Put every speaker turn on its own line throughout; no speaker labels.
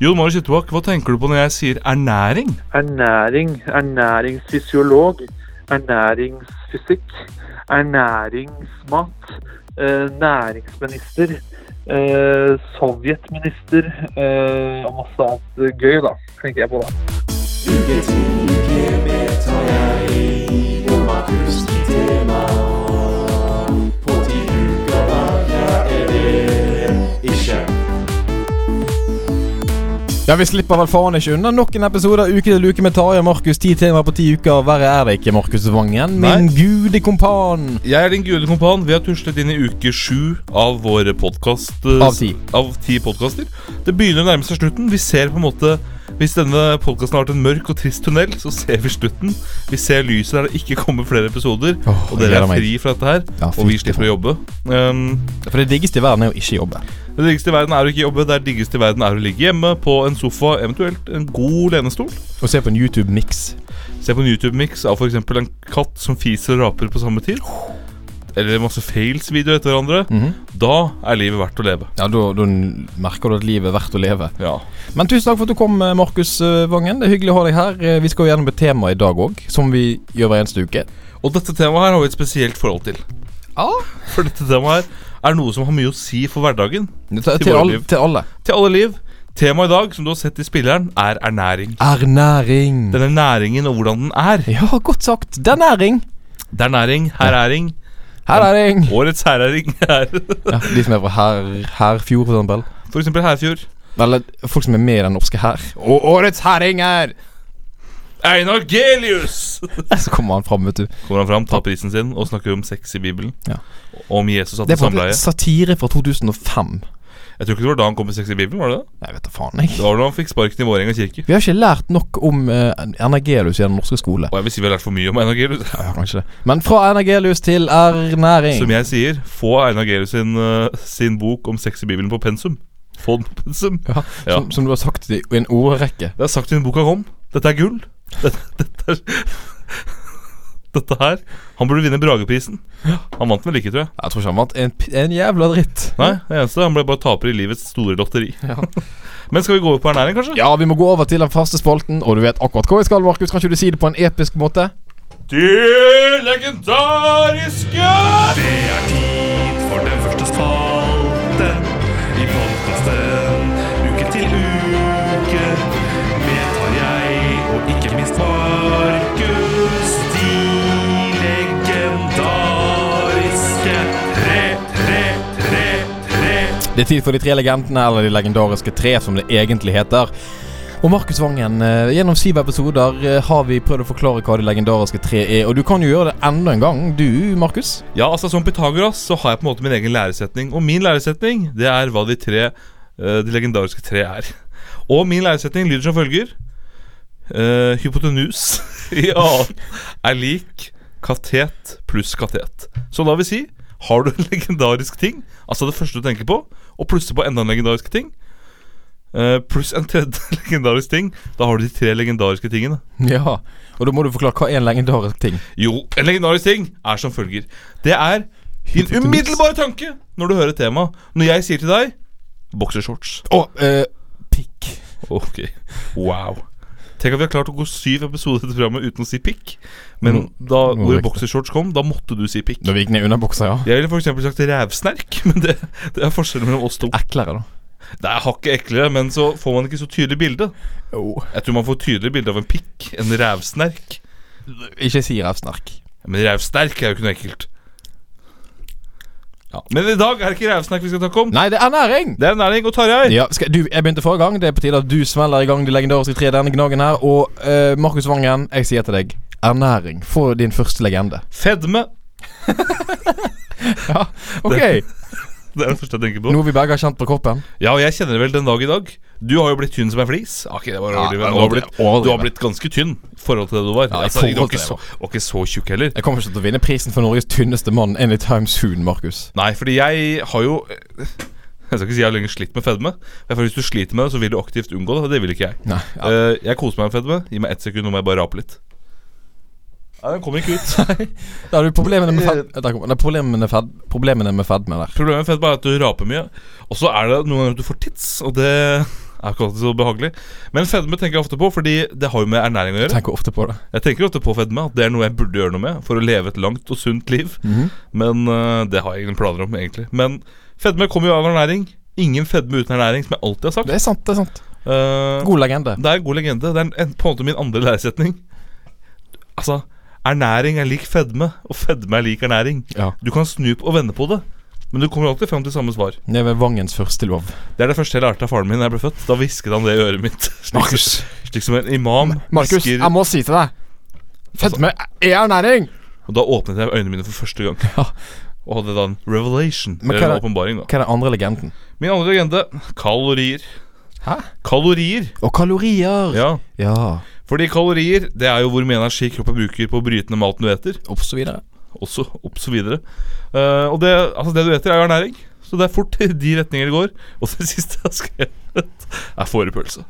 Jon Marius Hyttebakk, hva tenker du på når jeg sier ernæring?
Ernæring, ernæringsfysiolog, ernæringsfysikk, ernæringsmat, eh, næringsminister, eh, sovjetminister eh, og masse annet gøy, da, tenker jeg på da.
Ja, Vi slipper vel faen ikke unna nok en episode av Uke til uke med Tarjei og Markus. Ti temaer på ti uker. Verre er det ikke, Markus Vangen. Min
Nei.
gude kompan.
Jeg er din gule kompan. Vi har tuslet inn i uke sju av våre podkast...
Av ti.
Av ti podkaster. Det begynner å nærme seg slutten. Vi ser på en måte Hvis denne podkasten har vært en mørk og trist tunnel, så ser vi slutten. Vi ser lyset der det ikke kommer flere episoder.
Åh,
og
jeg
dere
gleder
er
meg.
fri fra dette her.
Ja,
og
fy
vi slipper å jobbe. Um,
For det diggeste i verden er jo ikke jobbe.
det diggeste i verden er å ikke jobbe. Det er diggeste i verden er å ligge hjemme på en sofa, eventuelt en god lenestol.
Å se på en YouTube-miks.
Se på en YouTube-miks av f.eks. en katt som fiser og raper på samme tid. Eller masse fails-videoer etter hverandre.
Mhm.
Da er livet verdt å leve.
Ja, da, da merker du at livet er verdt å leve.
Ja.
Men tusen takk for at du kom, eh, Markus eh, Vangen. Det er hyggelig å ha deg her. Eh, Vi skal jo gjennom et tema i dag òg, som vi gjør hver eneste uke.
Og dette temaet her har vi et spesielt forhold til.
Ja.
For dette temaet her er noe som har mye å si for hverdagen.
Til,
våre
til, alle,
liv.
til alle.
Til alle liv. Temaet i dag, som du har sett i spilleren, er ernæring.
Ernæring.
Denne næringen og hvordan den er.
Ja, godt sagt. Det er næring.
Det er næring, herræring.
Her er ring.
Årets herræring er
Ja, de som er fra her, Herfjord, for eksempel.
for eksempel Herfjord.
Eller folk som er med i den norske hær. Og årets herring er
Einar Gelius!
Så kommer han fram, vet du.
Kommer han fram, tar prisen sin og snakker om sex i Bibelen.
Ja.
Og om Jesus satt
Det
i
er faktisk
samleie.
satire fra 2005.
Jeg tror ikke det var da han kom med sex i Bibelen, var det det?
Jeg vet da faen, jeg.
Det var da han fikk sparken i Vålerenga kirke.
Vi har ikke lært nok om uh, Energelius i den norske skole.
Og jeg vil si vi har lært for mye om Einar Gelius.
Ja, kanskje det. Men fra Energelius til ernæring.
Som jeg sier, få Einar Gelius sin, eh, sin bok om sex i Bibelen på pensum. Få den på pensum.
ja,
Ja.
Som, som du har sagt i i en ordrekke.
Det er sagt siden boka kom. Dette er gull. Dette, dette, er, dette her Han burde vinne Brageprisen. Han vant vel ikke, tror jeg.
Jeg tror ikke han vant en, p- en jævla dritt.
Nei, det eneste Han ble bare taper i livets store lotteri.
Ja.
Men skal vi gå over på ernæring, kanskje?
Ja, vi må gå over til den faste spalten, og du vet akkurat hvor vi skal, Markus. Kan ikke du si det på en episk måte?
Det legendariske
Det er tid for den første spalten i podkasten Uke til uke med Tarjei og ikke minst Markus. De legendariske tre, tre, tre, tre.
Det er tid for de tre legendene, eller de legendariske tre, som det egentlig heter. Og Markus Vangen, eh, gjennom syv episoder eh, har vi prøvd å forklare hva de legendariske tre er. Og du kan jo gjøre det enda en gang, du, Markus.
Ja, altså Som Pythagoras så har jeg på en måte min egen læresetning. Og min læresetning det er hva de tre eh, De legendariske tre er. Og min læresetning lyder som følger eh, Hypotenus i annen er lik katet pluss katet. Så da vil si har du en legendarisk ting, altså det første du tenker på, og plusser på enda en legendarisk ting, eh, pluss en tredje legendarisk ting, da har du de tre legendariske tingene.
Ja, og da må du forklare hva er en legendarisk ting.
Jo, en legendarisk ting er som følger. Det er din umiddelbare tanke når du hører temaet. Når jeg sier til deg boksershorts.
Å, eh, pikk.
Ok, wow. Tenk at vi har klart å gå syv episoder til programmet uten å si pikk. Men da
nå
ordet
riktig.
boksershorts kom, da måtte du si pikk.
Da vi gikk ned under buksa, ja.
Jeg ville f.eks. sagt rævsnerk, men det, det er forskjellen mellom oss to.
Eklere, da.
Det er hakket eklere, men så får man ikke så tydelig bilde.
Jo.
Jeg tror man får tydeligere bilde av en pikk, en rævsnerk.
Ikke si revsnerk.
Men rævsterk er jo ikke noe ekkelt. Ja. Men i dag er det ikke rævsnerk vi skal snakke om.
Nei, det er næring!
Det er næring og Tarjei.
Ja, skal, du, Jeg begynte forrige gang. Det er på tide at du smeller i gang de legendariske tre denne gnagen her. Og eh, Markus Vangen, jeg sier til deg ernæring. Få din første legende.
Fedme.
Ok,
Det er det første jeg tenker på.
Noe vi begge har kjent på kroppen.
Ja, og jeg kjenner det vel den dag i dag. Du har jo blitt tynn som en flis. Ah, Ok, det var
Ja,
overdrivet.
det
du,
var
har blitt,
overdrivet.
du har blitt ganske tynn i forhold til det du var.
Ja, i
altså, du var
forhold til
ikke,
det
så,
jeg
var ikke så tjukk heller.
Jeg kommer ikke til å vinne prisen for Norges tynneste mann anytime soon, Markus.
Nei, fordi jeg har jo Jeg skal ikke si jeg har lenger slitt med fedme. Men for Hvis du sliter med det, så vil du aktivt unngå det. og Det vil ikke jeg.
Nei, ja.
Eh, jeg koser meg med fedme. Gi meg ett sekund, nå må jeg bare rape litt. Nei, den kommer ikke ut.
Da har du problemene med fed... Der kommer- Nei, problemene med fed... Problemene med fedme der.
Problemet med fedme er at du raper mye. Og så er det noen ganger at du får tits, og det er ikke alltid så behagelig. Men fedme tenker jeg ofte på, fordi det har jo med ernæring å gjøre.
Tenker ofte på det.
Jeg tenker ofte på fedme, at det er noe jeg burde gjøre noe med for å leve et langt og sunt liv.
Mhm.
Men øh, det har jeg ingen planer om, egentlig. Men fedme kommer jo av ernæring. Ingen fedme uten ernæring, som jeg alltid har sagt.
Det er sant. det er sant
Eh,
God legende.
det er en god legende. Det er en, en, på en måte min andre læresetning. Altså, ernæring er lik fedme, og fedme er lik ernæring.
Ja.
Du kan snu på og vende på det, men du kommer alltid fram til samme svar.
Det er vel Vangens første lov.
Det er det første jeg lærte av faren min da jeg ble født. Da hvisket han det i øret mitt. Slik,
Markus.
slik som en imam
Markus,
hvisker.
jeg må si til deg Fedme er ernæring!
Og da åpnet jeg øynene mine for første gang.
Ja.
Og hadde da en revelation.
Men hva
eller
er
en
det-
åpenbaring, da.
Hva er den andre legenden?
Min andre legende kalorier.
Hæ?
Kalorier,
Og kalorier!
ja.
ja.
Fordi kalorier det er jo hvor mye energi kroppen bruker på å bryte ned maten du eter.
Og så videre.
også opp så videre. Eh, og det, altså det du eter, er jo ernæring. Så det er fort i de retninger det går. Og det siste jeg har skrevet, er fårepølse.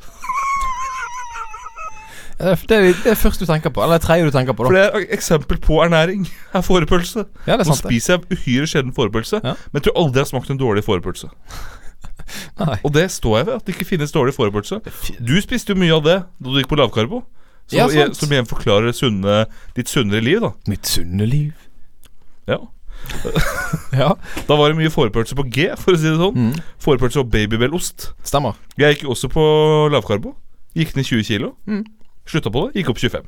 Det er det, er det første du tenker på. Eller det tredje du tenker på.
For
da
det er et eksempel på ernæring. er fårepølse.
Ja, det er
Nå
sant det
spiser jeg uhyre sjelden fårepølse,
Ja.
men jeg tror aldri jeg har smakt en dårlig fårepølse.
Nei.
Og det står jeg ved, at det ikke finnes dårlig fårepølse. Du spiste jo mye av det da du gikk på lavkarbo. Som,
Ja, sant.
som igjen forklarer sunne, ditt sunnere liv, da.
Mitt sunne liv.
Ja.
Ja,
Da var det mye fårepølse på G, for å si det sånn.
Mm.
Fårepølse og babybellost.
stemmer.
Jeg gikk jo også på lavkarbo. Gikk ned 20 kilo.
Mm.
Slutta på det, gikk opp 25.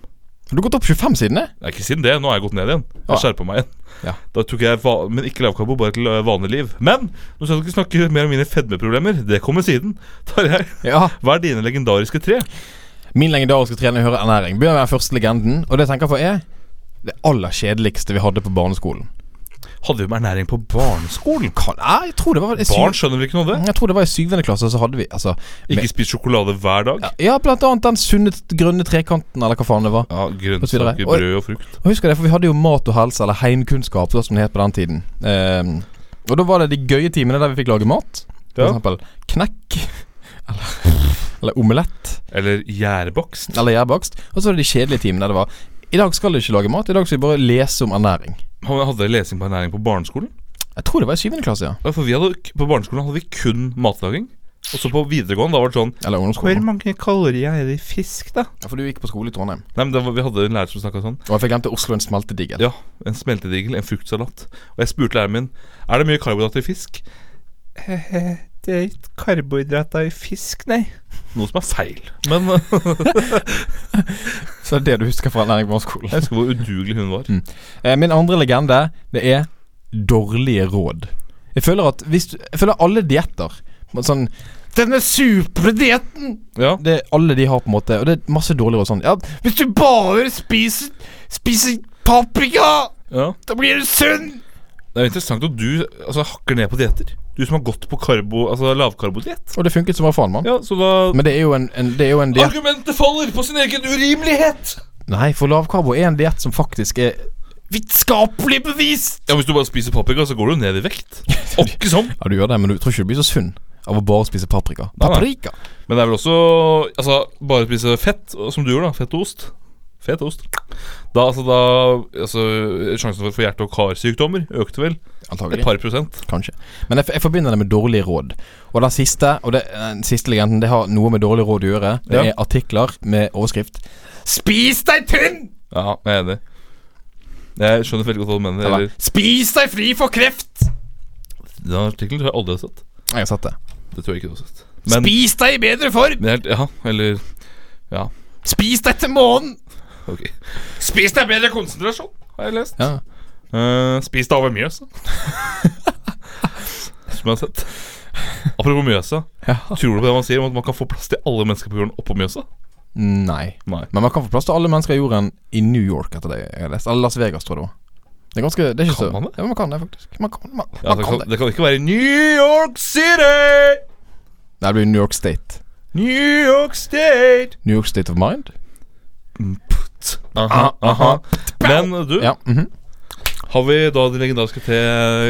Har du gått opp 25 siden det?
Nei, ikke siden det. Nå har jeg gått ned igjen. Jeg
Ah.
skjerpa meg igjen.
Ja.
Da tok jeg va Men ikke lavkarbo, bare til eh, vanlig liv. Men nå skal vi ikke snakke mer om mine fedmeproblemer. Det kommer siden. Tarjei,
Ja.
hva er dine legendariske tre?
Min legendariske trening hører ernæring. Begynner med den første legenden. Og det jeg tenker på, er det aller kjedeligste vi hadde på barneskolen.
Hadde vi med ernæring på barneskolen?
Kan, nei, jeg tror det var i
Barn
syv-
skjønner vel ikke noe av det?
Jeg tror det var i syvende klasse, så hadde vi altså
Ikke spis sjokolade hver dag.
med- Ja, blant annet den sunne t- grønne trekanten, eller hva faen det var.
Ja,
videre.
Grønnsaker,
Oi.
brød og frukt.
Og husker det, for Vi hadde jo mat og helse, eller heimkunnskap, da, som det het på den tiden. Ehm, og da var det de gøye timene der vi fikk lage mat. For
Ja.
eksempel knekk. Eller, eller omelett.
Eller gjærbakst.
Eller gjærbakst. Og så var det de kjedelige timene der det var I dag skal du ikke lage mat, i dag skal vi bare lese om ernæring.
Hadde dere lesing på ernæring på barneskolen?
Jeg tror det var i syvende klasse, ja.
Ja, For vi hadde, på barneskolen hadde vi kun matlaging. Og så på videregående da var det sånn
Eller
Hvor
ungdomsskolen.
mange kalorier er det i fisk, da?
Ja, for du gikk på skole i Trondheim.
Nei, men det var, Vi hadde en lærer som snakka sånn.
Og jeg fikk glemte Oslo en smeltedigel.
Ja, En smeltedigel, en fruktsalat. Og jeg spurte læreren min Er det mye karbohydrater i fisk. Det er ikke karbohydrater i fisk, nei. Noe som er feil. Men eh,
Så det er det du husker fra ernæring på barneskolen.
jeg husker hvor udugelig hun var.
Eh, Min andre legende, det er dårlige råd. Jeg føler at hvis du, Jeg føler alle dietter sånn Denne superdietten!
Ja,
Det er alle de har, på en måte. Og det er masse dårligere og sånn. Ja, hvis du bare spiser Spiser paprika,
ja.
da blir du sunn!
Det er jo interessant at du altså, hakker ned på dietter. Du som har gått på karbo, altså, lavkarbodiett.
Og det funket som bare faen, mann.
Ja, så da
Men det er jo en, en, det er jo en diett
Argumentet faller på sin egen urimelighet!
Nei, for lavkarbo er en diett som faktisk er vitenskapelig bevist!
Ja, Hvis du bare spiser paprika, så går du ned i vekt. Åkke sånn.
Ja, du gjør det, men du tror ikke du blir så sunn av å bare spise paprika.
Nei, nei.
Paprika!
Men det er vel også Altså, bare spise fett, og- som du gjorde, da. Fett og ost. Fett og ost. Da, altså, da altså, Sjansen for å få hjerte- og karsykdommer økte vel et
Antagelig.
par prosent.
Kanskje. Men jeg, f- jeg forbinder det med dårlige råd. Og den siste og det, eh, den siste legenden Det har noe med dårlige råd å gjøre. Det
Ja.
er artikler med overskrift 'Spis deg tynn!'
Ja, jeg er enig. Jeg skjønner veldig godt hva du mener.
eller
Eller,
'Spis deg fri for kreft!'
den artikkelen tror jeg aldri jeg har sett.
Jeg har sett det.
Det tror jeg ikke du har sett. Men,
'Spis deg i bedre form!
men jeg, Ja, eller Ja,
Spis deg til månen!'
ok. Spis deg bedre konsentrasjon, har jeg lest.
Ja.
Eh, spis deg over Mjøsa. Som jeg har sett. Apropos Mjøsa.
ja.
Tror du på det man sier om at man kan få plass til alle mennesker på jorden oppå Mjøsa?
Nei.
Nei.
Men man kan få plass til alle mennesker i jorden i New York, etter det jeg har lest. Eller Las Vegas, tror jeg det var. Det er ganske Det er ikke
Kan
så
man det?
Ja, man kan det, faktisk. Man kan, man,
Ja, altså,
man
det,
kan
kan,
det.
det kan ikke være New York City!
Nei, det blir New York State.
New York State!
New York State of Mind?
Ah, Aha, aha. Men du,
Ja. mhm.
Har vi da de legendariske tre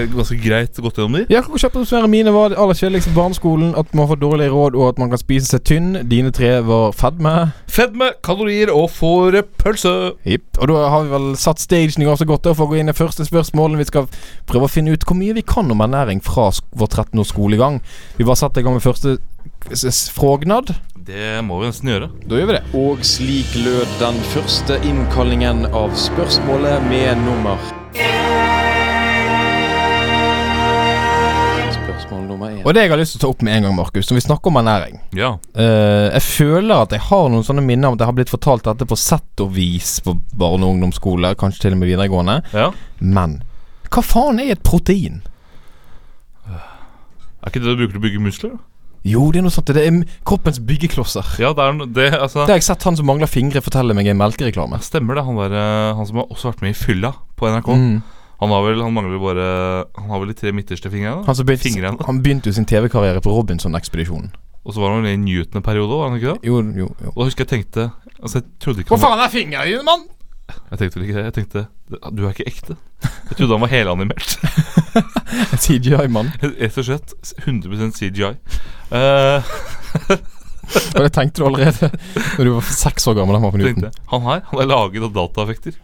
ganske greit gått gjennom de?
Ja, kan kjapt oppsummere mine var det aller kjedeligste barneskolen, at man får dårlig råd og at man kan spise seg tynn. Dine tre var fedme.
Fedme, kalorier og fårepølse.
Jipp. Og da har vi vel satt stagen i gang så godt da, for å gå inn i første spørsmål. Vi skal prøve å finne ut hvor mye vi kan om ernæring fra sk- vår 13 års skolegang. Vi bare satte i gang med første s- s- frågnad.
Det må vi nesten gjøre.
Da gjør vi det.
Og slik lød den første innkallingen av spørsmålet med nummer Spørsmål nummer én.
Og det jeg har lyst til å ta opp med en gang, Markus, når vi snakker om ernæring
Ja.
eh, Jeg føler at jeg har noen sånne minner om at jeg har blitt fortalt dette på sett og vis på barne- og ungdomsskole, kanskje til og med videregående.
ja.
Men hva faen er et protein?
Er ikke det du bruker til å bygge muskler? da?
Jo, det er noe sånt. Det er m- kroppens byggeklosser.
Ja, det er no- det, altså
Det har jeg sett han som mangler fingre fortelle meg i en melkereklame.
Stemmer det, han, der, eh, han som har også vært med i Fylla på NRK.
Mm.
Han har vel, han mangler bare Han har vel de tre midterste fingrene. da?
Han, som begynte,
Fingrene.
han begynte jo sin TV-karriere på Robinson-ekspedisjonen.
Og så var han vel i en Newton-periode, var han ikke det?
Jo, jo, jo.
Og da husker jeg tenkte Altså, jeg trodde ikke han var,
faen er fingrene dine, mann?!
Jeg tenkte vel ikke det. Jeg tenkte Du er ikke ekte. Jeg trodde han var helanimert.
CGI-mann.
Rett og slett 100 CGI. Eh,
Og det tenkte du allerede Når du var seks år gammel. Han var på
tenkte
Newton.
jeg Han her han er laget av dataeffekter.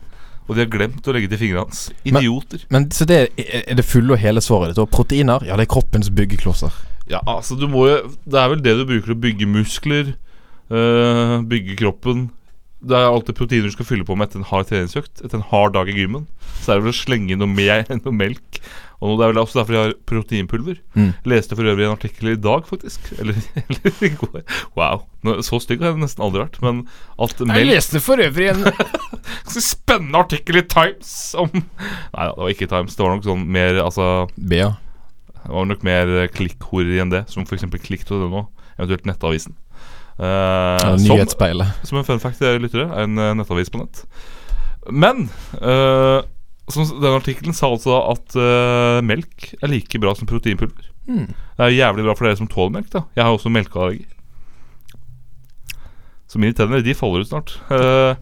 Og de har glemt å legge til fingrene hans.
Men-
Idioter.
Men så det er er det fulle og hele svaret ditt. Og proteiner? Ja, det er kroppens byggeklosser.
Ja, altså du må jo Det er vel det du bruker til å bygge muskler, øh, bygge kroppen. Det er alltid proteiner du skal fylle på med etter en hard treningsøkt. Etter en hard dag i gymmen. Så er det vel å slenge inn noe, mer, noe melk. Og Det er vel også derfor de har proteinpulver.
Mm.
Leste for øvrig en artikkel i dag, faktisk. Eller, eller i går. Wow. Nå- Så stygg har jeg nesten aldri vært. Men at melk
leste for øvrig en
Ganske spennende artikkel i Times om Nei da, det var ikke Times. Det var nok sånn mer altså
Bea.
det var nok mer eh, klikkhorer enn det, som f.eks. klikk.no, eventuelt Nettavisen. Eh,
Ja,
som,
Nyhetsspeilet.
som en fun fact til dere lyttere, er en eh, nettavis på nett. Men eh, som, s- denne artikkelen sa altså da at eh, melk er like bra som proteinpulver.
Hmm.
Det er jævlig bra for dere som tåler melk. da Jeg har også melkeallergi. Så mine tenner de faller ut snart. Eh,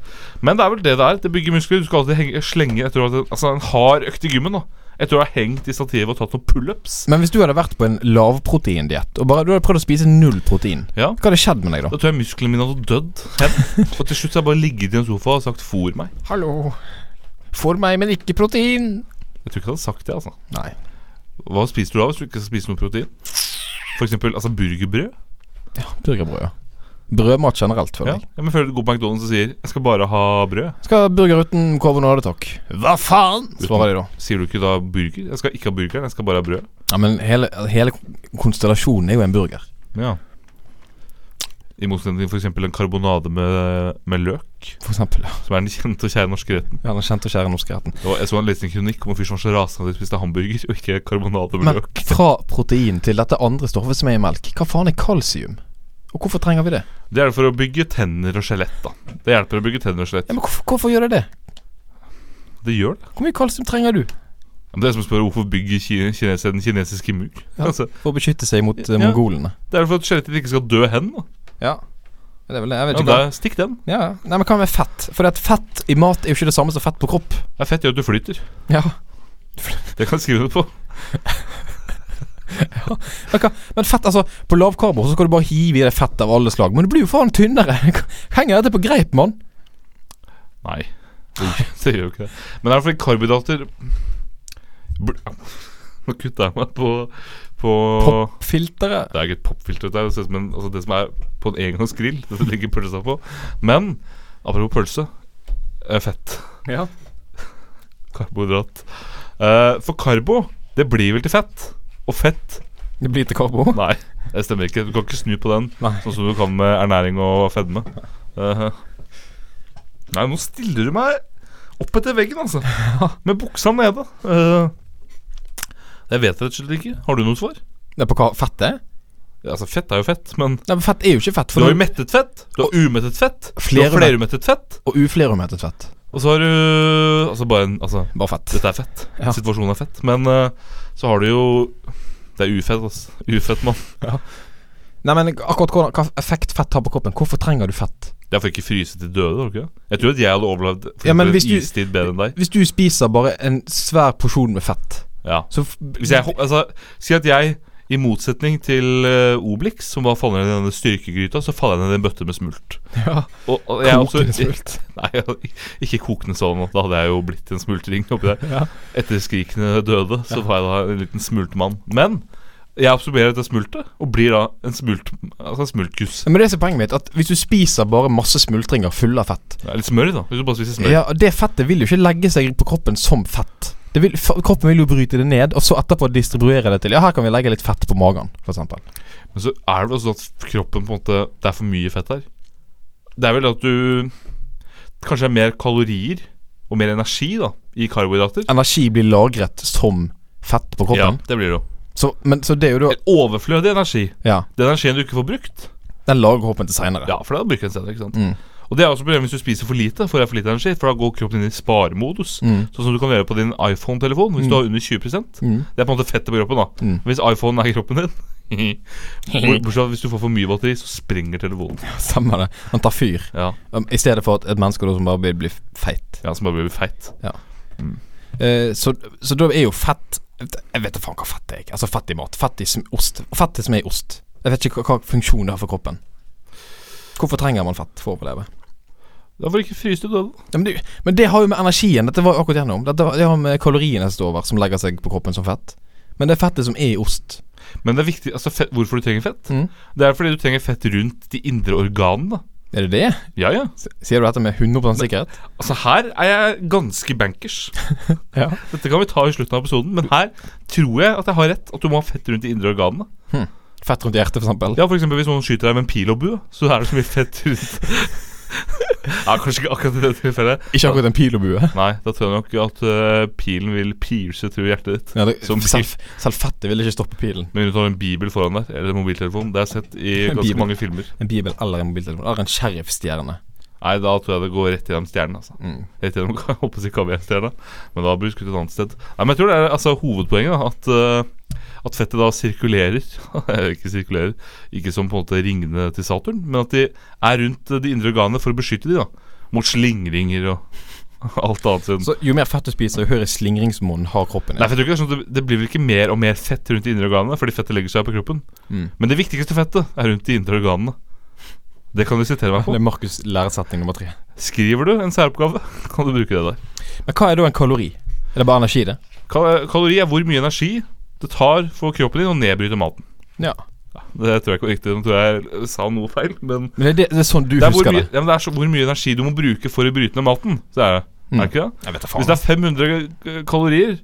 men det er vel det det er. Det bygger muskler. Du skal alltid henge, slenge etter å ha altså, en hard økt i gymmen. da Etter å ha hengt i stativet og tatt noen pullups.
Men hvis du hadde vært på en lavproteindiett, og bare du hadde prøvd å spise null protein,
Ja.
hva hadde skjedd med deg da?
Da tror jeg musklene mine hadde dødd. hen. Og til slutt har jeg bare ligget i en sofa og sagt 'fôr meg'.
Hallo. For meg, men ikke protein.
Jeg tror ikke jeg hadde sagt det. altså
Nei.
Hva spiser du da hvis du ikke skal spise noe protein? For eksempel altså, burgerbrød.
Burgerbrød, ja. Brødmat generelt, føler
Ja.
jeg.
Ja, men Før du går på McDonald's og sier 'jeg skal bare ha brød',
Skal burger uten kårvenade, takk. Hva faen? Svarer de da.
sier du ikke da 'burger'? Jeg skal ikke ha burgeren, jeg skal bare ha brød.
Ja, men hele, hele konstellasjonen er jo en burger.
Ja I motsetning til f.eks. en karbonade med, med løk,
For eksempel. Ja,
som er den kjente og kjære norske retten.
den kjente og kjære norske retten.
Det var- Jeg så en liten kronikk om en fyr som var så rasende at de spiste hamburger og ikke karbonade med
Men
løk.
fra protein til dette andre stoffet som er i melk, hva faen er kalsium? Og hvorfor trenger vi det?
Det er for å bygge tenner og skjelett, da. Det hjelper å bygge tenner og skjelett.
Ja, men hvorfor, hvorfor gjør det det?
Det gjør det.
Hvor mye kalsium trenger du
Men Det er som å spørre hvorfor bygger Ki- kinesere den kinesiske mur?
Ja.
Altså,
for å beskytte seg mot eh,
Ja.
mongolene?
det er for at skjelettet ikke skal dø hen. Da.
Ja. Det er vel det. Jeg vet
Ja,
ikke
da,
hva.
stikk den.
Ja, ja. Nei, men hva med fett? For at fett i mat er jo ikke det samme som fett på kropp.
Det er fett gjør at du flyter.
Ja.
Det kan jeg skrive det på.
Men fett, altså, på lavkarbo så skal du bare hive i deg fett av alle slag. Men du blir jo faen tynnere. Henger dette på greip, mann?
Nei, det gjør- det gjør jo ikke det. Men det er fordi karbohydrater bl- Nå kutta jeg meg på, på
Filteret.
Det er ikke et popfilter, dette her, det ser ut som en, altså det som er på en engangsgrill. Det som ligger pølsa på. Men apropos pølse eh, fett.
Ja.
Karbohydrat. Eh, for karbo, det blir vel til fett. Og fett
Det blir til karbo.
Nei, det stemmer ikke. Du kan ikke snu på den,
Nei.
sånn som du kan med ernæring og fedme. Eh, nei, nå stiller du meg opp etter veggen, altså. Med buksa nede. Eh, jeg vet rett og slett ikke. Har du noe svar?
Det er på hva fett er?
Ja, Altså, Fett er jo fett, men
Nei, men fett er jo ikke fett.
du
For
har jo
det
mettet fett. Du har umettet fett.
Flere
du har flerumettet fett.
og uflerumhettet fett.
Og så har du Altså, bare en Altså,
Bare fett.
dette er fett.
Ja.
Situasjonen er fett. Men eh, så har du jo Det er ufett, altså. Ufett, mann.
Nei, men akkurat hvordan, hva effekt fett har på kroppen. Hvorfor trenger du fett?
Det er for ikke fryse til døde, var det ikke det? Jeg tror at jeg hadde overlevd for
Ja, men
eksempel en
hvis du-
istid bedre enn deg.
Hvis du spiser bare en svær porsjon med fett
Ja.
så f-
Hvis jeg, altså, si at jeg, i motsetning til eh, Obelix, som var faller ned i denne styrkegryta, så faller jeg ned i en bøtte med smult.
Ja,
Og, og jeg er også-
kokende smult.
Nei, jeg- ikke kokende sånn. Da hadde jeg jo blitt en smultring oppi der.
Ja.
Etter skrikene døde, så var jeg da en liten smultmann. Men jeg absorberer dette smultet, og blir da en smult, altså en smultguss.
Men det som er poenget mitt, at hvis du spiser bare masse smultringer fulle av fett
Det er Litt smør, da, hvis du bare spiser smør.
Ja, og Det fettet vil jo ikke legge seg på kroppen som fett. Det vil, f- kroppen vil jo bryte det ned, og så etterpå distribuere det til Ja, her kan vi legge litt fett på magen, f.eks.
Men så er det vel også at kroppen på en måte Det er for mye fett her. Det er vel at du Kanskje det er mer kalorier og mer energi da i karbohydrater.
Energi blir lagret som fett på
Ja,
kroppen.
det blir det jo.
Så, men, så det er jo da
En Overflødig energi.
Ja,
Den energien du ikke får brukt.
Den lager kroppen til seinere.
Ja, for da bruker den senere. ikke sant?
Mm.
Og det er også problemet hvis du spiser for lite, får jeg for lite energi, for da går kroppen inn i sparemodus.
Mm.
Sånn som du kan gjøre på din iPhone-telefon hvis du har under 20
Mm.
Det er på en måte fettet på kroppen, da.
Mm.
Hvis iPhonen er kroppen din Bort- Bortsett fra hvis du får for mye batteri, så springer telefonen.
Stemmer det. Han tar fyr.
Ja,
Um, I stedet for at et menneske da som bare blir, blir feit.
ja Som bare blir feit.
Eh, så, så da er jo fett Jeg vet da faen hva fett er. jeg. Altså fett i mat. Fett i sm ost. Fett som er i ost. Jeg vet ikke hva, hva funksjon det har for kroppen. Hvorfor trenger man fett for å overleve?
Da får du ikke fryse til døden.
Ja, men, det, men det har jo med energien Dette var jo akkurat gjennom. Dette var- det har med kaloriene som står over, som legger seg på kroppen som fett. Men det er fettet som er i ost.
Men det er viktig, altså fett, hvorfor du trenger fett?
Mm.
Det er fordi du trenger fett rundt de indre organene. da.
Er det det?
Ja, ja.
S- Sier du dette med 100 sikkerhet?
Altså Her er jeg ganske bankers.
Ja.
Dette kan vi ta i slutten av episoden, men her tror jeg at jeg har rett. At du må ha fett rundt de indre organene.
Fett rundt hjertet, for eksempel.
Ja, for eksempel Hvis noen skyter deg med en pil og bue, så er det så mye fett rundt Ja, Kanskje ikke akkurat i det tilfellet.
Ikke akkurat en pil og bue.
Nei, da tror jeg nok at øh, pilen vil pierce through hjertet ditt.
Ja, det,
Som pil.
selv, selv fettet vil ikke stoppe pilen.
Men du har en bibel foran deg, eller en mobiltelefon. Det har jeg sett i
En
ganske
bibel.
mange filmer.
En bibel eller en mobiltelefon. Eller en sheriffstjerne.
Nei, da tror jeg det går rett gjennom stjernen. altså
Mm.
Rett gjennom jeg håper å si kaviarstjerna, men da blir det skutt et annet sted. Nei, men jeg tror det er altså, hovedpoenget, da, at, eh, at fettet da sirkulerer. ikke sirkulerer, ikke som på en måte ringene til Saturn, men at de er rundt eh, de indre organene for å beskytte de da mot slingringer og alt annet. Sånn.
Så jo mer fett du spiser, jo høyere slingringsmonn har kroppen.
Nei, for jeg tror ikke det, er sånn at det, det blir vel ikke mer og mer fett rundt de indre organene fordi fettet legger seg på kroppen.
Mm.
Men det viktigste fettet er rundt de indre organene. Det kan du sitere meg på.
Det er Markus' læresetning nummer tre.
Skriver du en særoppgave, kan du bruke det der.
Men hva er da en kalori? Er det bare energi, det?
Kal kalori er hvor mye energi det tar for kroppen din å nedbryte maten.
Ja.
Det tror jeg ikke var riktig. Nå tror jeg jeg sa noe feil. Men
Men det, er det, det er sånn du
det er, hvor
husker
mye,
det?
ja, men det er så, hvor mye energi du må bruke for å bryte ned maten. Så er det, er
Mm.
det ikke det?
Jeg vet da
Hvis det er 500 kalorier,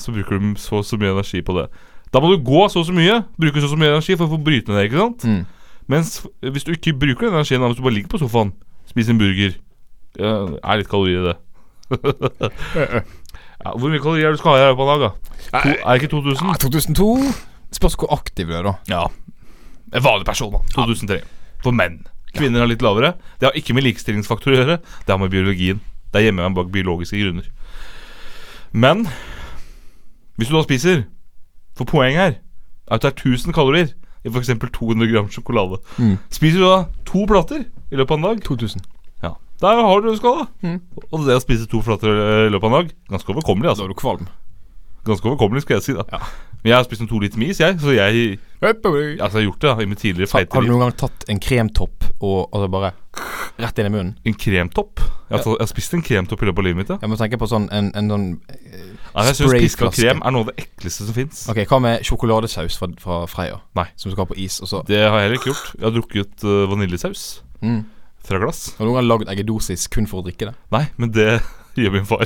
så bruker du så og så mye energi på det. Da må du gå så og så mye, bruke så og så mye energi for å få bryte ned det. ikke sant?
Mm.
Mens f- hvis du ikke bruker den energien, da, hvis du bare ligger på sofaen, spiser en burger ja, Er litt kalorier i det. ja, hvor mye kalorier er det du skal ha i løpet av en dag? da? To, er det ikke 2000?
Ja, 2002 Spørs hvor aktiv du er, da.
Ja. En vanlig person, da. 2003. For menn. Kvinner er litt lavere. Det har ikke med likestillingsfaktor å gjøre. Det har med biologien. Det er hjemmevern bak biologiske grunner. Men hvis du da spiser For poenget her er at det er 1000 kalorier i f.eks. 200 gram sjokolade.
Mm.
Spiser du da to plater i løpet av en dag
2000.
ja. Der har du det du skal, da. Og det å spise to plater i løpet av en dag Ganske overkommelig,
Da
altså.
er du kvalm.
Ganske overkommelig, skal jeg si. da Men jeg har spist en to liter med is, jeg, så jeg
Har
Altså, jeg har gjort det da, i mitt tidligere feite
har du
liv.
noen gang tatt en kremtopp og altså bare rett inn i munnen?
En kremtopp? Jeg har, tatt- jeg har spist en kremtopp i løpet av livet mitt, ja.
Jeg må tenke på sånn en, en sånn
Nei, jeg syns piska
sprayflaske.
krem er noe av det ekleste som fins.
Ok, hva med sjokoladesaus fra, fra Freia?
Nei.
Som du skal ha på is, og så
Det har jeg heller ikke gjort. Jeg har drukket øh, vaniljesaus
mm.
fra glass.
Har du noen gang lagd eggedosis kun for å drikke det?
Nei, men det gjør min far.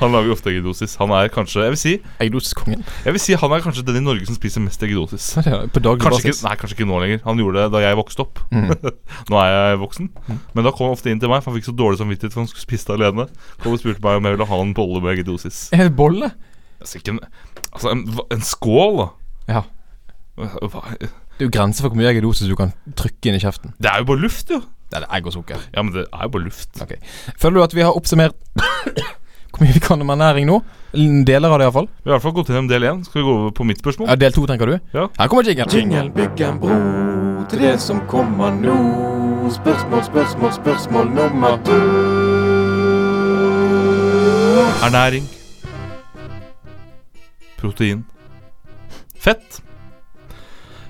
han lager ofte eggedosis. Han er kanskje Jeg vil si,
Eggedosiskongen?
jeg vil si han er kanskje den i Norge som spiser mest eggedosis.
Ja, det er det. På daglig
Kanskje ikke,
basis? Mm.
nei, kanskje ikke nå lenger. Han gjorde det da jeg vokste opp. nå er jeg voksen. Men da kom han ofte inn til meg, for han fikk så dårlig samvittighet for han skulle spise det alene. Kom og spurte meg om jeg ville ha en bolle med eggedosis.
En bolle?
Altså, ikke en, altså en, hva- en skål, da.
Ja.
Hva-
Det er jo grenser for hvor mye eggedosis du kan trykke inn i kjeften.
Det er jo bare luft, jo.
Det er det egg og sukker.
Ja, men det er jo bare luft.
Ok. Føler du at vi har oppsummert hvor mye vi kan om ernæring nå? Deler av det, iallfall.
Vi har i hvert fall gått gjennom del én. Skal vi gå over på mitt spørsmål?
Ja, del to, tenker du?
Ja.
Her kommer jingelen.
Jingle bygg en bro til det som kommer nå.
Spørsmål, spørsmål, spørsmål nummer to.
Ernæring. Protein. Fett.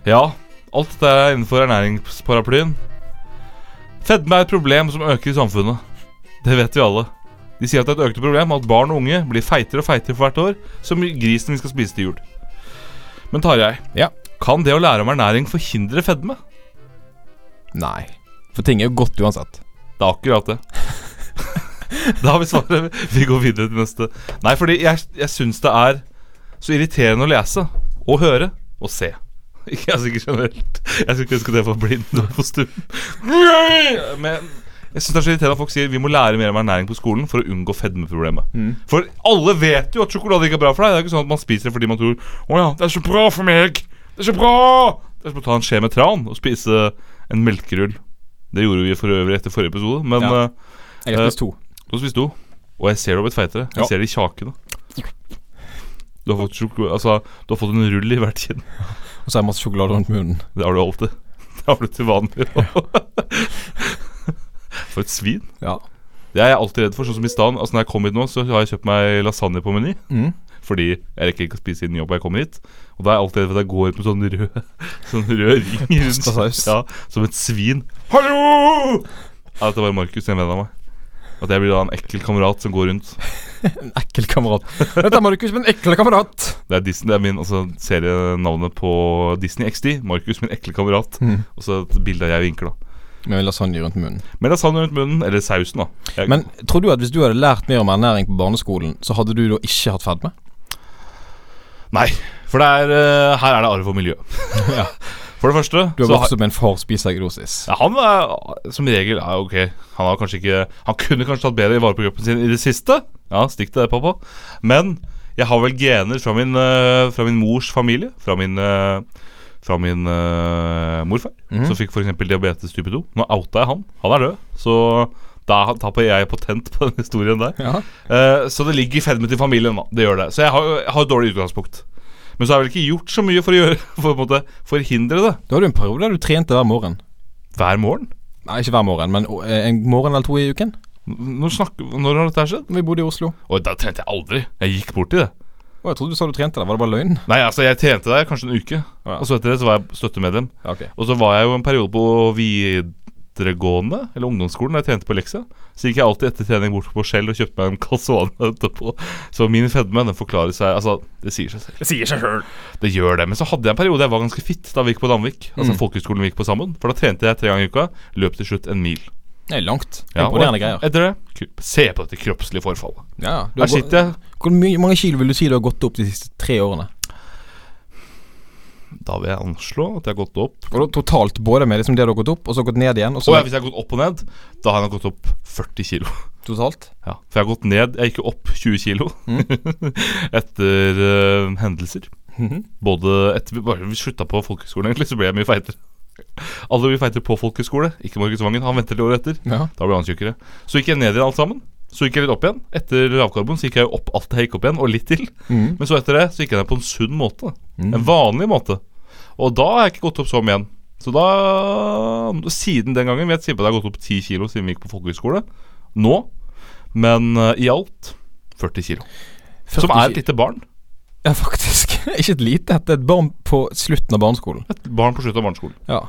Ja, alt dette er innenfor ernæringsparaplyen. Fedme er et problem som øker i samfunnet. Det vet vi alle. De sier at det er et økende problem at barn og unge blir feitere og feitere for hvert år, som grisen vi skal spise til jul. Men Tarjei,
Ja.
kan det å lære om ernæring forhindre fedme?
Nei. For ting er jo godt uansett.
Det er akkurat det. da har vi svaret. Vi går videre til neste. Nei, fordi jeg, jeg syns det er så irriterende å lese og høre og se. Ikke altså ikke generelt. Jeg skulle ikke ønske det var blind og på stum. Men jeg syns det er så irriterende at folk sier vi må lære mer om ernæring på skolen for å unngå fedmeproblemet. For alle vet jo at sjokolade ikke er bra for deg. Det er ikke sånn at man spiser det fordi man tror å ja, det er så bra for meg. Det er så bra. Det er som å ta en skje med tran og spise en melkerull. Det gjorde vi for øvrig etter forrige episode, men
Ja.
eh,
Jeg har spist to.
du har spist to, og jeg ser du har blitt feitere. Jeg
Ja.
ser det i kjakene. Du har, fått sjoko- altså, du har fått en rull i hvert kinn.
Og så har jeg masse sjokolade rundt munnen.
Det har du alltid. Det har du til vanlig. For et svin.
Ja.
Det er jeg alltid redd for. Sånn som i stand, altså Når jeg kom hit nå, så har jeg kjøpt meg lasagne på Meny.
Mm.
Fordi jeg rekker ikke å spise innen jobb. og Jeg kommer hit Og da er jeg alltid redd for at jeg går ut med sånn rød Sånn rød ring rundt.
Pastasaus.
Ja, som et svin. Hallo! Ja, dette var Markus, en venn av meg. At jeg blir da en ekkel kamerat som går rundt.
En ekkel kamerat. Dette må du ikke huske, men en ekkel kamerat.
Det er, Disney, det er min altså, serienavnet på Disney XD. Markus, min ekle kamerat.
Mhm.
Og så et bilde av jeg vinker, da.
Med lasagne rundt munnen.
Med lasagne rundt munnen, eller sausen, da. Jeg,
Men tror du at hvis du hadde lært mer om ernæring på barneskolen, så hadde du da ikke hatt fedme?
Nei, for det er, eh, her er det arv og miljø.
Ja.
For det første
Du har
så har-
vokst opp med en far spiser grosis.
ja, Han er som regel ja, ok. Han har kanskje ikke Han kunne kanskje tatt bedre i vare på kroppen sin i det siste. Ja, stikk til det, pappa. Men jeg har vel gener fra min, eh, fra min mors familie. Fra min, eh, fra min eh, morfar, som fikk f.eks. diabetes type 2. Nå outa jeg han. Han er død. Så da tapper jeg patent på den historien der.
Ja.
Eh, så det ligger fedme til familien, da. Det gjør det. Så jeg har, jeg har et dårlig utgangspunkt. Men så har jeg vel ikke gjort så mye for å gjøre For å på en måte forhindre det
Da hadde du en periode der du trente hver morgen.
hver morgen.
Nei, ikke hver morgen, men eh, en morgen eller to i uken.
N- Når, snakker, når har dette her skjedd?
Når vi bodde i Oslo.
Og da trente jeg aldri. Jeg gikk bort til det.
Å, jeg trodde du sa du trente der. Var det bare løgn?
Nei, altså Jeg trente der kanskje en uke,
Ja.
og så etter det så var jeg støttemedlem.
Ja, ok.
Og så var jeg jo en periode på videregående, eller ungdomsskolen, da jeg trente på lekse. Så gikk jeg alltid etter trening bort på Shell og kjøpte meg en calzone etterpå. Så min fedme, den forklarer seg Altså, det sier seg selv. Det sier seg sjøl. Det gjør det. Men så hadde jeg en periode jeg var ganske fit da vi gikk på Danvik. Altså folkehøgskolen vi gikk på sammen. For da trente jeg tre ganger i uka. Løp til slutt en mil.
Det er langt.
Ja, og
Imponerende greier.
Etter det ku- Se på dette kroppslige forfallet.
Ja, ja. Du
Her
har gå-
sitter jeg
Hvor mye, mange kilo vil du si du har gått opp de siste tre årene?
Da vil jeg anslå at jeg har gått opp
Og da totalt både med liksom det du har gått opp, og så gått ned igjen? Og så
Og hvis jeg har gått opp og ned, da har jeg gått opp 40 kilo.
totalt?
Ja, for jeg har gått ned Jeg gikk jo opp 20 kilo etter eh, hendelser. Mhm. Både etter vi, bare vi slutta på folkehøgskolen, egentlig, så ble jeg mye feitere. Alle blir feitere på folkehøgskole, ikke Markus Vangen. Han venter til året etter.
Ja.
Da ble han tjukkere. Så gikk jeg ned igjen alt sammen. Så gikk jeg litt opp igjen. Etter lavkarbon så gikk jeg jo opp alt jeg gikk opp igjen, og litt til.
Mhm.
Men så etter det så gikk jeg ned på en sunn måte. En vanlig måte. Og da har jeg ikke gått opp så mye igjen. Så da Siden den gangen vet jeg at jeg har gått opp 10 kilo siden vi gikk på folkehøyskole. Nå. Men eh, i alt 40 kilo. Som er et lite barn.
Ja, faktisk. ikke et lite et. Det er et barn på slutten av barneskolen.
Et barn på slutten av barneskolen.
Ja.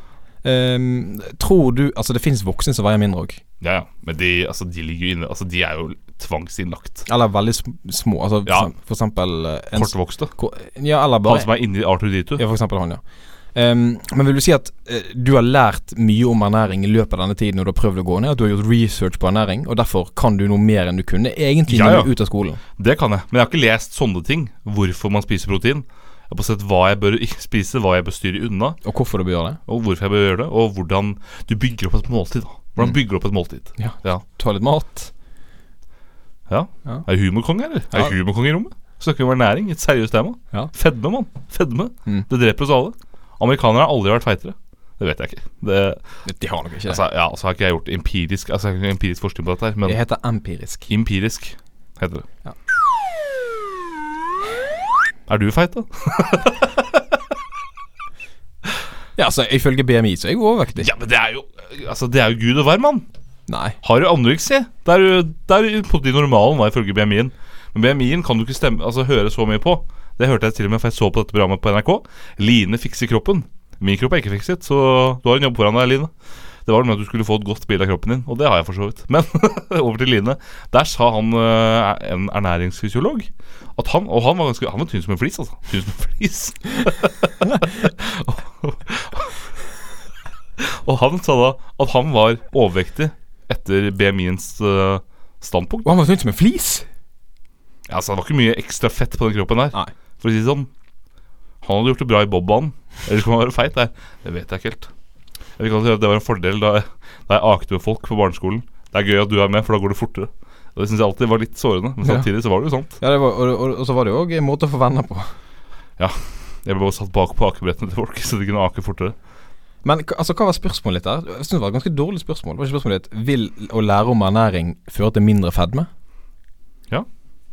Ehm, tror du Altså, det fins voksne som veier mindre òg.
Ja, ja. Men de, altså, de ligger jo inne Altså, de er jo tvangsinnlagt.
Eller veldig sm- små. Altså,
Ja.
for, for eksempel eh, en,
Kortvokste.
ko- Ja, eller
Han
bare
som er inni Arthur Ditu.
Ja, for eksempel han, ja. Ehm, men vil du si at eh, du har lært mye om ernæring i løpet av denne tiden, og du har prøvd å gå ned, at du har gjort research på ernæring, og derfor kan du noe mer enn du kunne egentlig
Ja,
når
ja.
du er ut av skolen?
Det kan jeg, men jeg har ikke lest sånne ting. Hvorfor man spiser protein. Jeg har bare sett hva jeg bør ikke spise, hva jeg bør styre unna,
Og hvorfor du bør gjøre det?
og hvorfor jeg bør gjøre det, og hvordan du bygger opp et måltid. da Hvordan bygger du opp et måltid?
Mm. Ja.
Ja.
Ta litt mat.
ja.
Ja.
Er jeg humorkonge, eller? Er jeg humorkonge i rommet? Snakker vi om ernæring, et seriøst tema.
Ja.
Fedme, mann. Fedme.
Mm.
Det dreper oss alle. Amerikanere har aldri vært feitere. Det vet jeg ikke. Det,
De har nok ikke det.
altså, ja, så har ikke jeg gjort empirisk Altså, jeg har ikke empirisk forskning på dette her,
Det
men
heter empirisk.
empirisk heter det.
Ja.
Er du feit, da?
Ja, altså, Ifølge BMI så er jeg jo overvektig.
Ja, men det er jo Altså, det er jo gud og hver mann.
Nei.
Har du anoreksi? Det er jo det er jo på de normalen, da, ifølge BMI-en. Men BMI-en kan du ikke stemme, altså, høre så mye på. Det hørte jeg til og med, for jeg så på dette programmet på NRK. Line fikser kroppen. Min kropp er ikke fikset, så du har en jobb foran deg, Line. Det var med at du skulle få et godt bilde av kroppen din, og det har jeg for så vidt. Men over til Line. Der sa han eh, en ernæringsfysiolog at han Og han var ganske Han var tynn som en flis, altså. Tynn som en flis. og han sa da at han var overvektig etter BMI-ens eh, standpunkt.
Og han var tynt som en flis.
Ja, altså, det var ikke mye ekstra fett på den kroppen der.
Nei.
For å si det sånn Han hadde gjort det bra i bobbanen. Ellers kan han være feit der. Det vet jeg ikke helt. Jeg vil ikke si at Det var en fordel da jeg, da jeg akte med folk på barneskolen. Det er gøy at du er med, for da går det fortere. Og Det syns jeg alltid var litt sårende, men
Ja.
samtidig så var det jo sant.
Ja, det var, og, og, og så var det jo òg en måte å få venner på.
Jeg ble bare satt bak på akebrettene til folk, så de kunne ake fortere.
Men k- altså, hva var spørsmålet ditt der? Jeg synes det var et ganske dårlig spørsmål. Var ikke spørsmålet ditt Vil å lære om ernæring føre til mindre fedme?
Ja.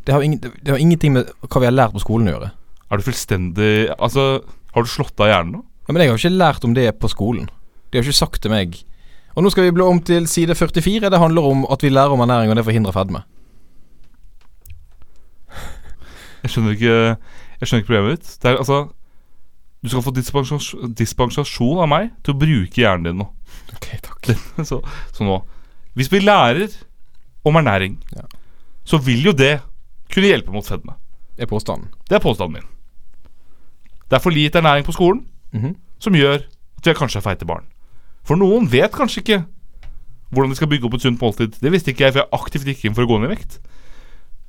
Det har, ingen, det har ingenting med hva vi har lært på skolen å gjøre.
Er du fullstendig Altså, har du slått av hjernen nå?
Ja, Men jeg har jo ikke lært om det på skolen. De har jo ikke sagt til meg Og nå skal vi bla om til side 44. Det handler om at vi lærer om ernæring, og det forhindrer fedme.
Jeg skjønner ikke Jeg skjønner ikke problemet ditt. Det er altså Du skal få dispensasjon, dispensasjon av meg til å bruke hjernen din nå.
Ok, takk.
Det- så, så nå Hvis vi lærer om ernæring,
Ja.
så vil jo det kunne hjelpe mot fedme.
Det er påstanden.
Det er påstanden min. Det er for lite ernæring på skolen
Mhm.
som gjør at vi kanskje er feite barn. For noen vet kanskje ikke hvordan de skal bygge opp et sunt måltid. Det visste ikke jeg, for jeg aktivt gikk inn for å gå ned i vekt.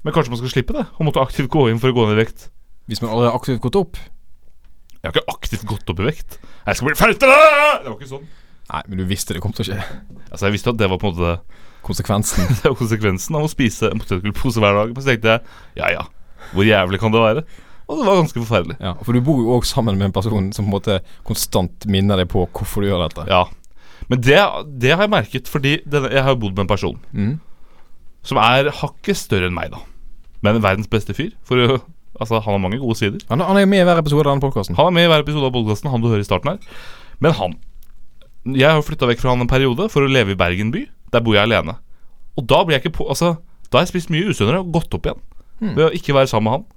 Men kanskje man skal slippe det, og måtte aktivt gå inn for å gå ned i vekt.
Hvis man allerede har aktivt gått opp
Jeg har ikke aktivt gått opp i vekt. Jeg skal bli feitere! Det var ikke sånn.
Nei, men du visste det kom til å skje.
Altså, jeg visste at det var på en måte
Konsekvensen.
Det er jo konsekvensen av å spise en potetgullpose hver dag. Men så tenkte jeg ja ja, hvor jævlig kan det være? Og det var ganske forferdelig.
ja, For du bor jo òg sammen med en person som på en måte konstant minner deg på hvorfor du gjør dette.
Ja. Men det, det har jeg merket, fordi denne, jeg har jo bodd med en person
Mhm.
som er hakket større enn meg, da. Men verdens beste fyr. For å- altså, han har mange gode sider.
Han, han er jo med i hver episode av denne podkasten.
Han er med i hver episode av podkasten, han du hører i starten her. Men han Jeg har flytta vekk fra han en periode for å leve i Bergen by. Der bor jeg alene. Og da blir jeg ikke på Altså, da har jeg spist mye usunnere og gått opp igjen. Ved å ikke være sammen med han.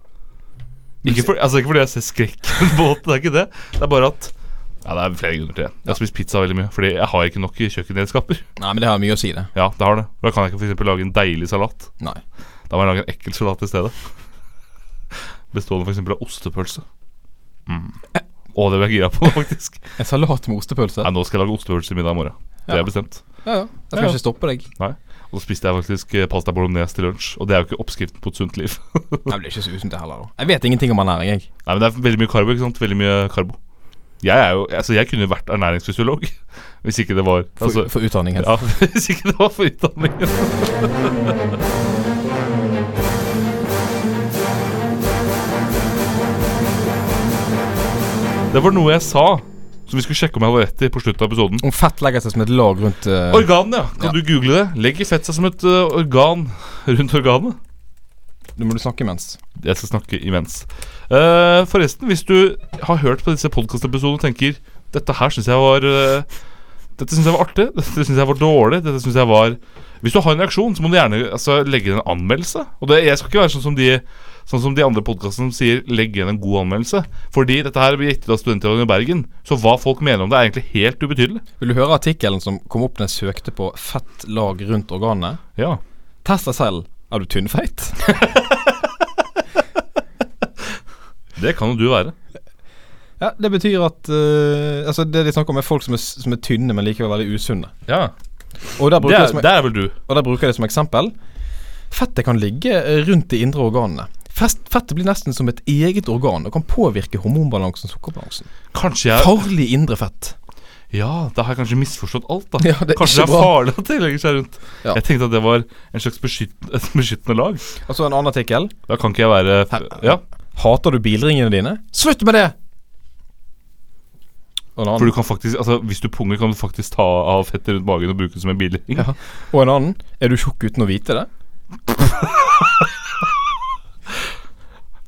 Ikke, for, altså, ikke fordi jeg ser skrekken på det, det er ikke det. Det er bare at Ja, det er flere grunner til det. Jeg har spist pizza veldig mye, fordi jeg har ikke nok i kjøkkenredskaper.
Nei, men det har mye å si, det.
Ja, det har det. Da kan jeg ikke for eksempel lage en deilig salat.
Nei.
Da må jeg lage en ekkel salat i stedet. Bestående for eksempel av ostepølse. Mm. Å, det ble jeg gira på, faktisk.
En salat med ostepølse.
Nei, nå skal jeg lage ostepølse i middag i morgen. Det har jeg bestemt.
Ja, ja. Jeg skal
Ja, ja.
ikke stoppe deg.
Nei. Og så spiste jeg faktisk eh, pasta bolognese til lunsj, og det er jo ikke oppskriften på et sunt liv.
Jeg blir ikke så usunt, jeg heller. da. Jeg vet ingenting om ernæring, jeg.
Nei, men det er veldig mye karbo, ikke sant? Veldig mye karbo. Jeg er jo Altså, jeg kunne vært ernæringsfysiolog hvis ikke det var
For,
altså,
for utdanning. helt.
Ja, hvis ikke det var for utdanningen. Det var noe jeg sa som vi skulle sjekke om jeg hadde rett i på slutten av episoden.
Om fett legger seg som et lag rundt eh,
Organ, ja. Kan
Ja.
du google det? Legger fett seg som et ø, organ rundt organet?
Nå må du snakke imens.
Jeg skal snakke imens. Eh, forresten, hvis du har hørt på disse podkastepisodene og tenker Dette her syns jeg var eh, Dette synes jeg var artig, dette syns jeg var dårlig Dette synes jeg var Hvis du har en reaksjon, så må du gjerne altså, legge inn en anmeldelse. Og det, Jeg skal ikke være sånn som de Sånn som de andre podkastene som sier 'legg igjen en god anmeldelse'. Fordi dette her blir gitt ut av Studentradioen i Bergen, så hva folk mener om det, er egentlig helt ubetydelig.
Vil du høre artikkelen som kom opp når jeg søkte på 'fett lag rundt organene'?
Ja
Test deg selv. Er du tynnfeit?
Det kan jo du være.
ja, det betyr at eh, Altså, det de snakker om, er folk som er, s- som er tynne, men likevel veldig usunne.
Ja,
Og der
Det
bruker, jeg
er,
som,
det er vel du.
og der bruker jeg det som eksempel. Fettet kan ligge eh, rundt de indre organene. Fest, fettet blir nesten som et eget organ og kan påvirke hormonbalansen og sukkerbalansen.
Kanskje jeg
Farlig indre fett.
Ja, da har jeg kanskje misforstått alt, da.
Ja, det er
kanskje det er
ikke bra.
farlig at det legger seg rundt.
Ja.
Jeg tenkte at det var en slags beskytt, et beskyttende lag.
Og så Altså, en annen artikkel.
Da kan ikke jeg være Ja,
Hater du bilringene dine? Slutt med det! Og en
For du
annen.
kan faktisk Altså, hvis du punger, kan du faktisk ta av fettet rundt magen og bruke det som en bilring.
Ja. Og en annen. Er du tjukk uten å vite det?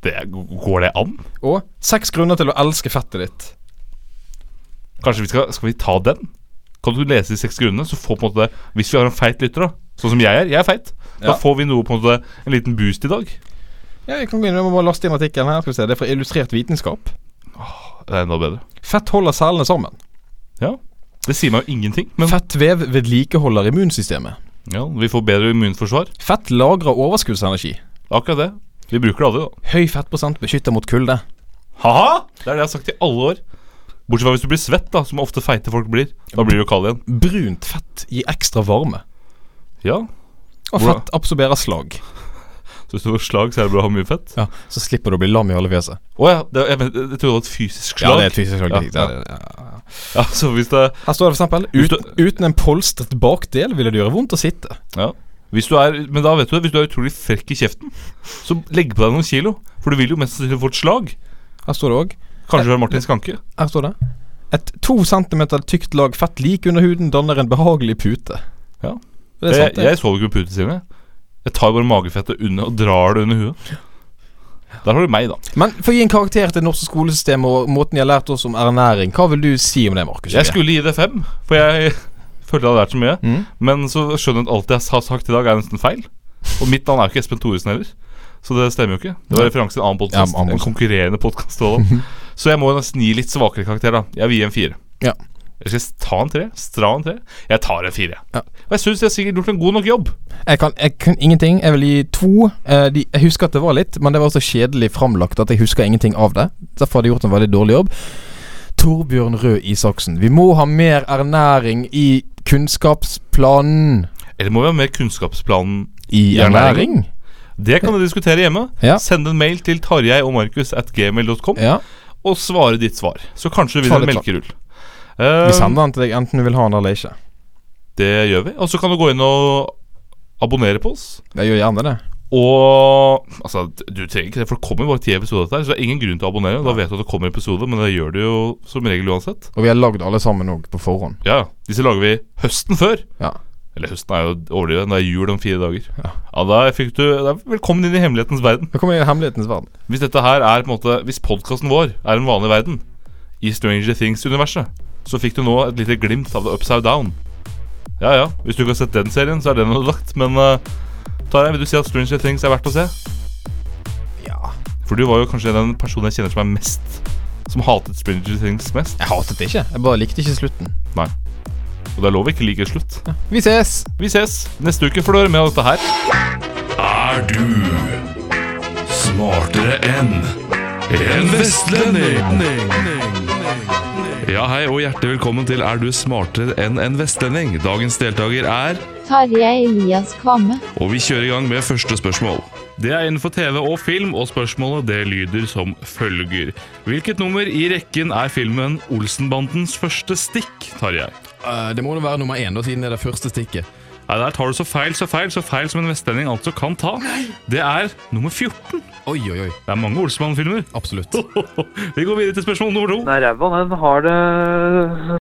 Det, går det an?
Og seks grunner til å elske fettet ditt.
Kanskje vi skal, skal vi ta den? Kan du lese de seks grunnene? Så får på en måte Hvis vi har en feit lytter, da, sånn som jeg er, jeg er feit, da
Ja.
får vi noe på en måte en liten boost i dag.
Ja, jeg kan gå inn, jeg må bare laste inn artikkelen her. Skal vi se. Det er fra Illustrert vitenskap.
Det er enda bedre.
Fett holder cellene sammen.
Ja. Det sier meg jo ingenting, men
Fettvev vedlikeholder immunsystemet.
ja, vi får bedre immunforsvar.
Fett lagrer overskuddsenergi.
Akkurat det. Vi bruker det aldri, da.
Høy fettprosent beskytter mot kulde.
Ha-ha! Det er det jeg har sagt i alle år. Bortsett fra hvis du blir svett, da, som ofte feite folk blir. Da blir du kald igjen.
Brunt fett gir ekstra varme.
Ja,
Og
Hvordan-
fett absorberer slag.
så hvis du får slag, så er det bra å ha mye fett.
Ja, Så slipper du å bli lam i halve fjeset.
Å ja, det, jeg, men, jeg trodde det var et fysisk
Ja,
slag.
det er et fysisk slag.
Ja,
Ja,
ja.
ja.
Ja, så hvis det
Her står det f.eks.:
Hvis
Ut, Uten en polstret bakdel ville det gjøre vondt å sitte.
Ja. Hvis du er, men da vet du det, hvis du er utrolig frekk i kjeften, så legg på deg noen kilo. For du vil jo mest sannsynlig få et slag.
Her står det òg
Kanskje fra Martin Skanke.
Her står det Et to centimeter tykt lag fett like under huden danner en behagelig pute.
Ja.
Det er
jeg,
sant, det.
jeg sover ikke med putene sine. Jeg tar bare magefettet under og drar det under huet. Der har du meg, da.
Men for å gi en karakter til det norske skolesystemet og måten de har lært oss om ernæring, hva vil du si om det, Markus?
Jeg skulle gi det fem, for jeg følte jeg hadde lært så mye.
Mhm.
Men så skjønner jeg at alt jeg har sagt i dag, er nesten feil. Og mitt navn er jo ikke Espen Thoresen heller, så det stemmer jo ikke. Det var referanse til en annen podkast.
Ja, annen
en
podcast.
konkurrerende podkast. Så jeg må nesten gi litt svakere karakter, da. Jeg vil gi en fire.
Ja.
Jeg skal ta en tre. Stra en tre. Jeg tar en fire.
Ja.
Og jeg syns jeg har sikkert gjort en god nok jobb.
Jeg kan, jeg kan ingenting. Jeg vil gi to. Eh, de, jeg husker at det var litt, men det var så kjedelig framlagt at jeg husker ingenting av det. Derfor har de gjort en veldig dårlig jobb. Torbjørn Røe Isaksen. Vi må ha mer ernæring i kunnskapsplanen.
Eller må vi ha mer kunnskapsplanen?
I
ernæring? Det kan dere diskutere hjemme.
Ja.
Send en mail til tarjei og markus at gmail.com
Ja.
og svare ditt svar. Så kanskje du vinner
Svar
en
ditt svar.
melkerull.
Vi
Eh,
sender den til deg enten du vil ha den eller ikke.
det gjør vi. Og så kan du gå inn og abonnere på oss.
Jeg gjør gjerne det.
Og altså, du trenger ikke det, for det kommer bare ti episoder av dette her. Så det er ingen grunn til å abonnere. Da vet du at det kommer episoder, men det gjør det jo som regel uansett.
Og vi har lagd alle sammen òg på forhånd.
Ja, ja. Disse lager vi høsten før.
Ja.
Eller høsten er jo overdrevet. Det er jul om fire dager.
Ja.
Ja, da fikk du da, Velkommen inn i hemmelighetens verden.
Nå kommer jeg i hemmelighetens verden.
Hvis dette her er på en måte Hvis podkasten vår er en vanlig verden i Stranger Things-universet, så fikk du nå et lite glimt av The Upside Down. Ja ja, hvis du ikke har sett den serien, så er den ødelagt, men uh, Tarjei, vil du si at Stranger Things er verdt å se?
Ja.
For du var jo kanskje den personen jeg kjenner som er mest Som hatet Stranger Things mest.
Jeg hatet det ikke. Jeg bare likte ikke slutten.
Og det er lov å ikke like slutt.
Vi ses!
Vi ses neste uke, for du hører med dette her.
Er du smartere enn en vestlending? Ja, hei og hjertelig velkommen til Er du smartere enn en vestlending? Dagens deltaker er
Tarjei Elias Kvamme.
Og vi kjører i gang med første spørsmål. Det er innenfor TV og film, og spørsmålet det lyder som følger. Hvilket nummer i rekken er filmen Olsenbandens første stikk, Tarjei?
Eh, det må da være nummer én, da, siden det er det første stikket.
Nei, der tar du så feil, så feil, så feil som en vestlending altså kan ta. Det er nummer 14.
Oi, oi, oi.
Det er mange Olsenmann-filmer.
Absolutt.
Vi går videre til spørsmål nummer to.
Nei, ræva, den har det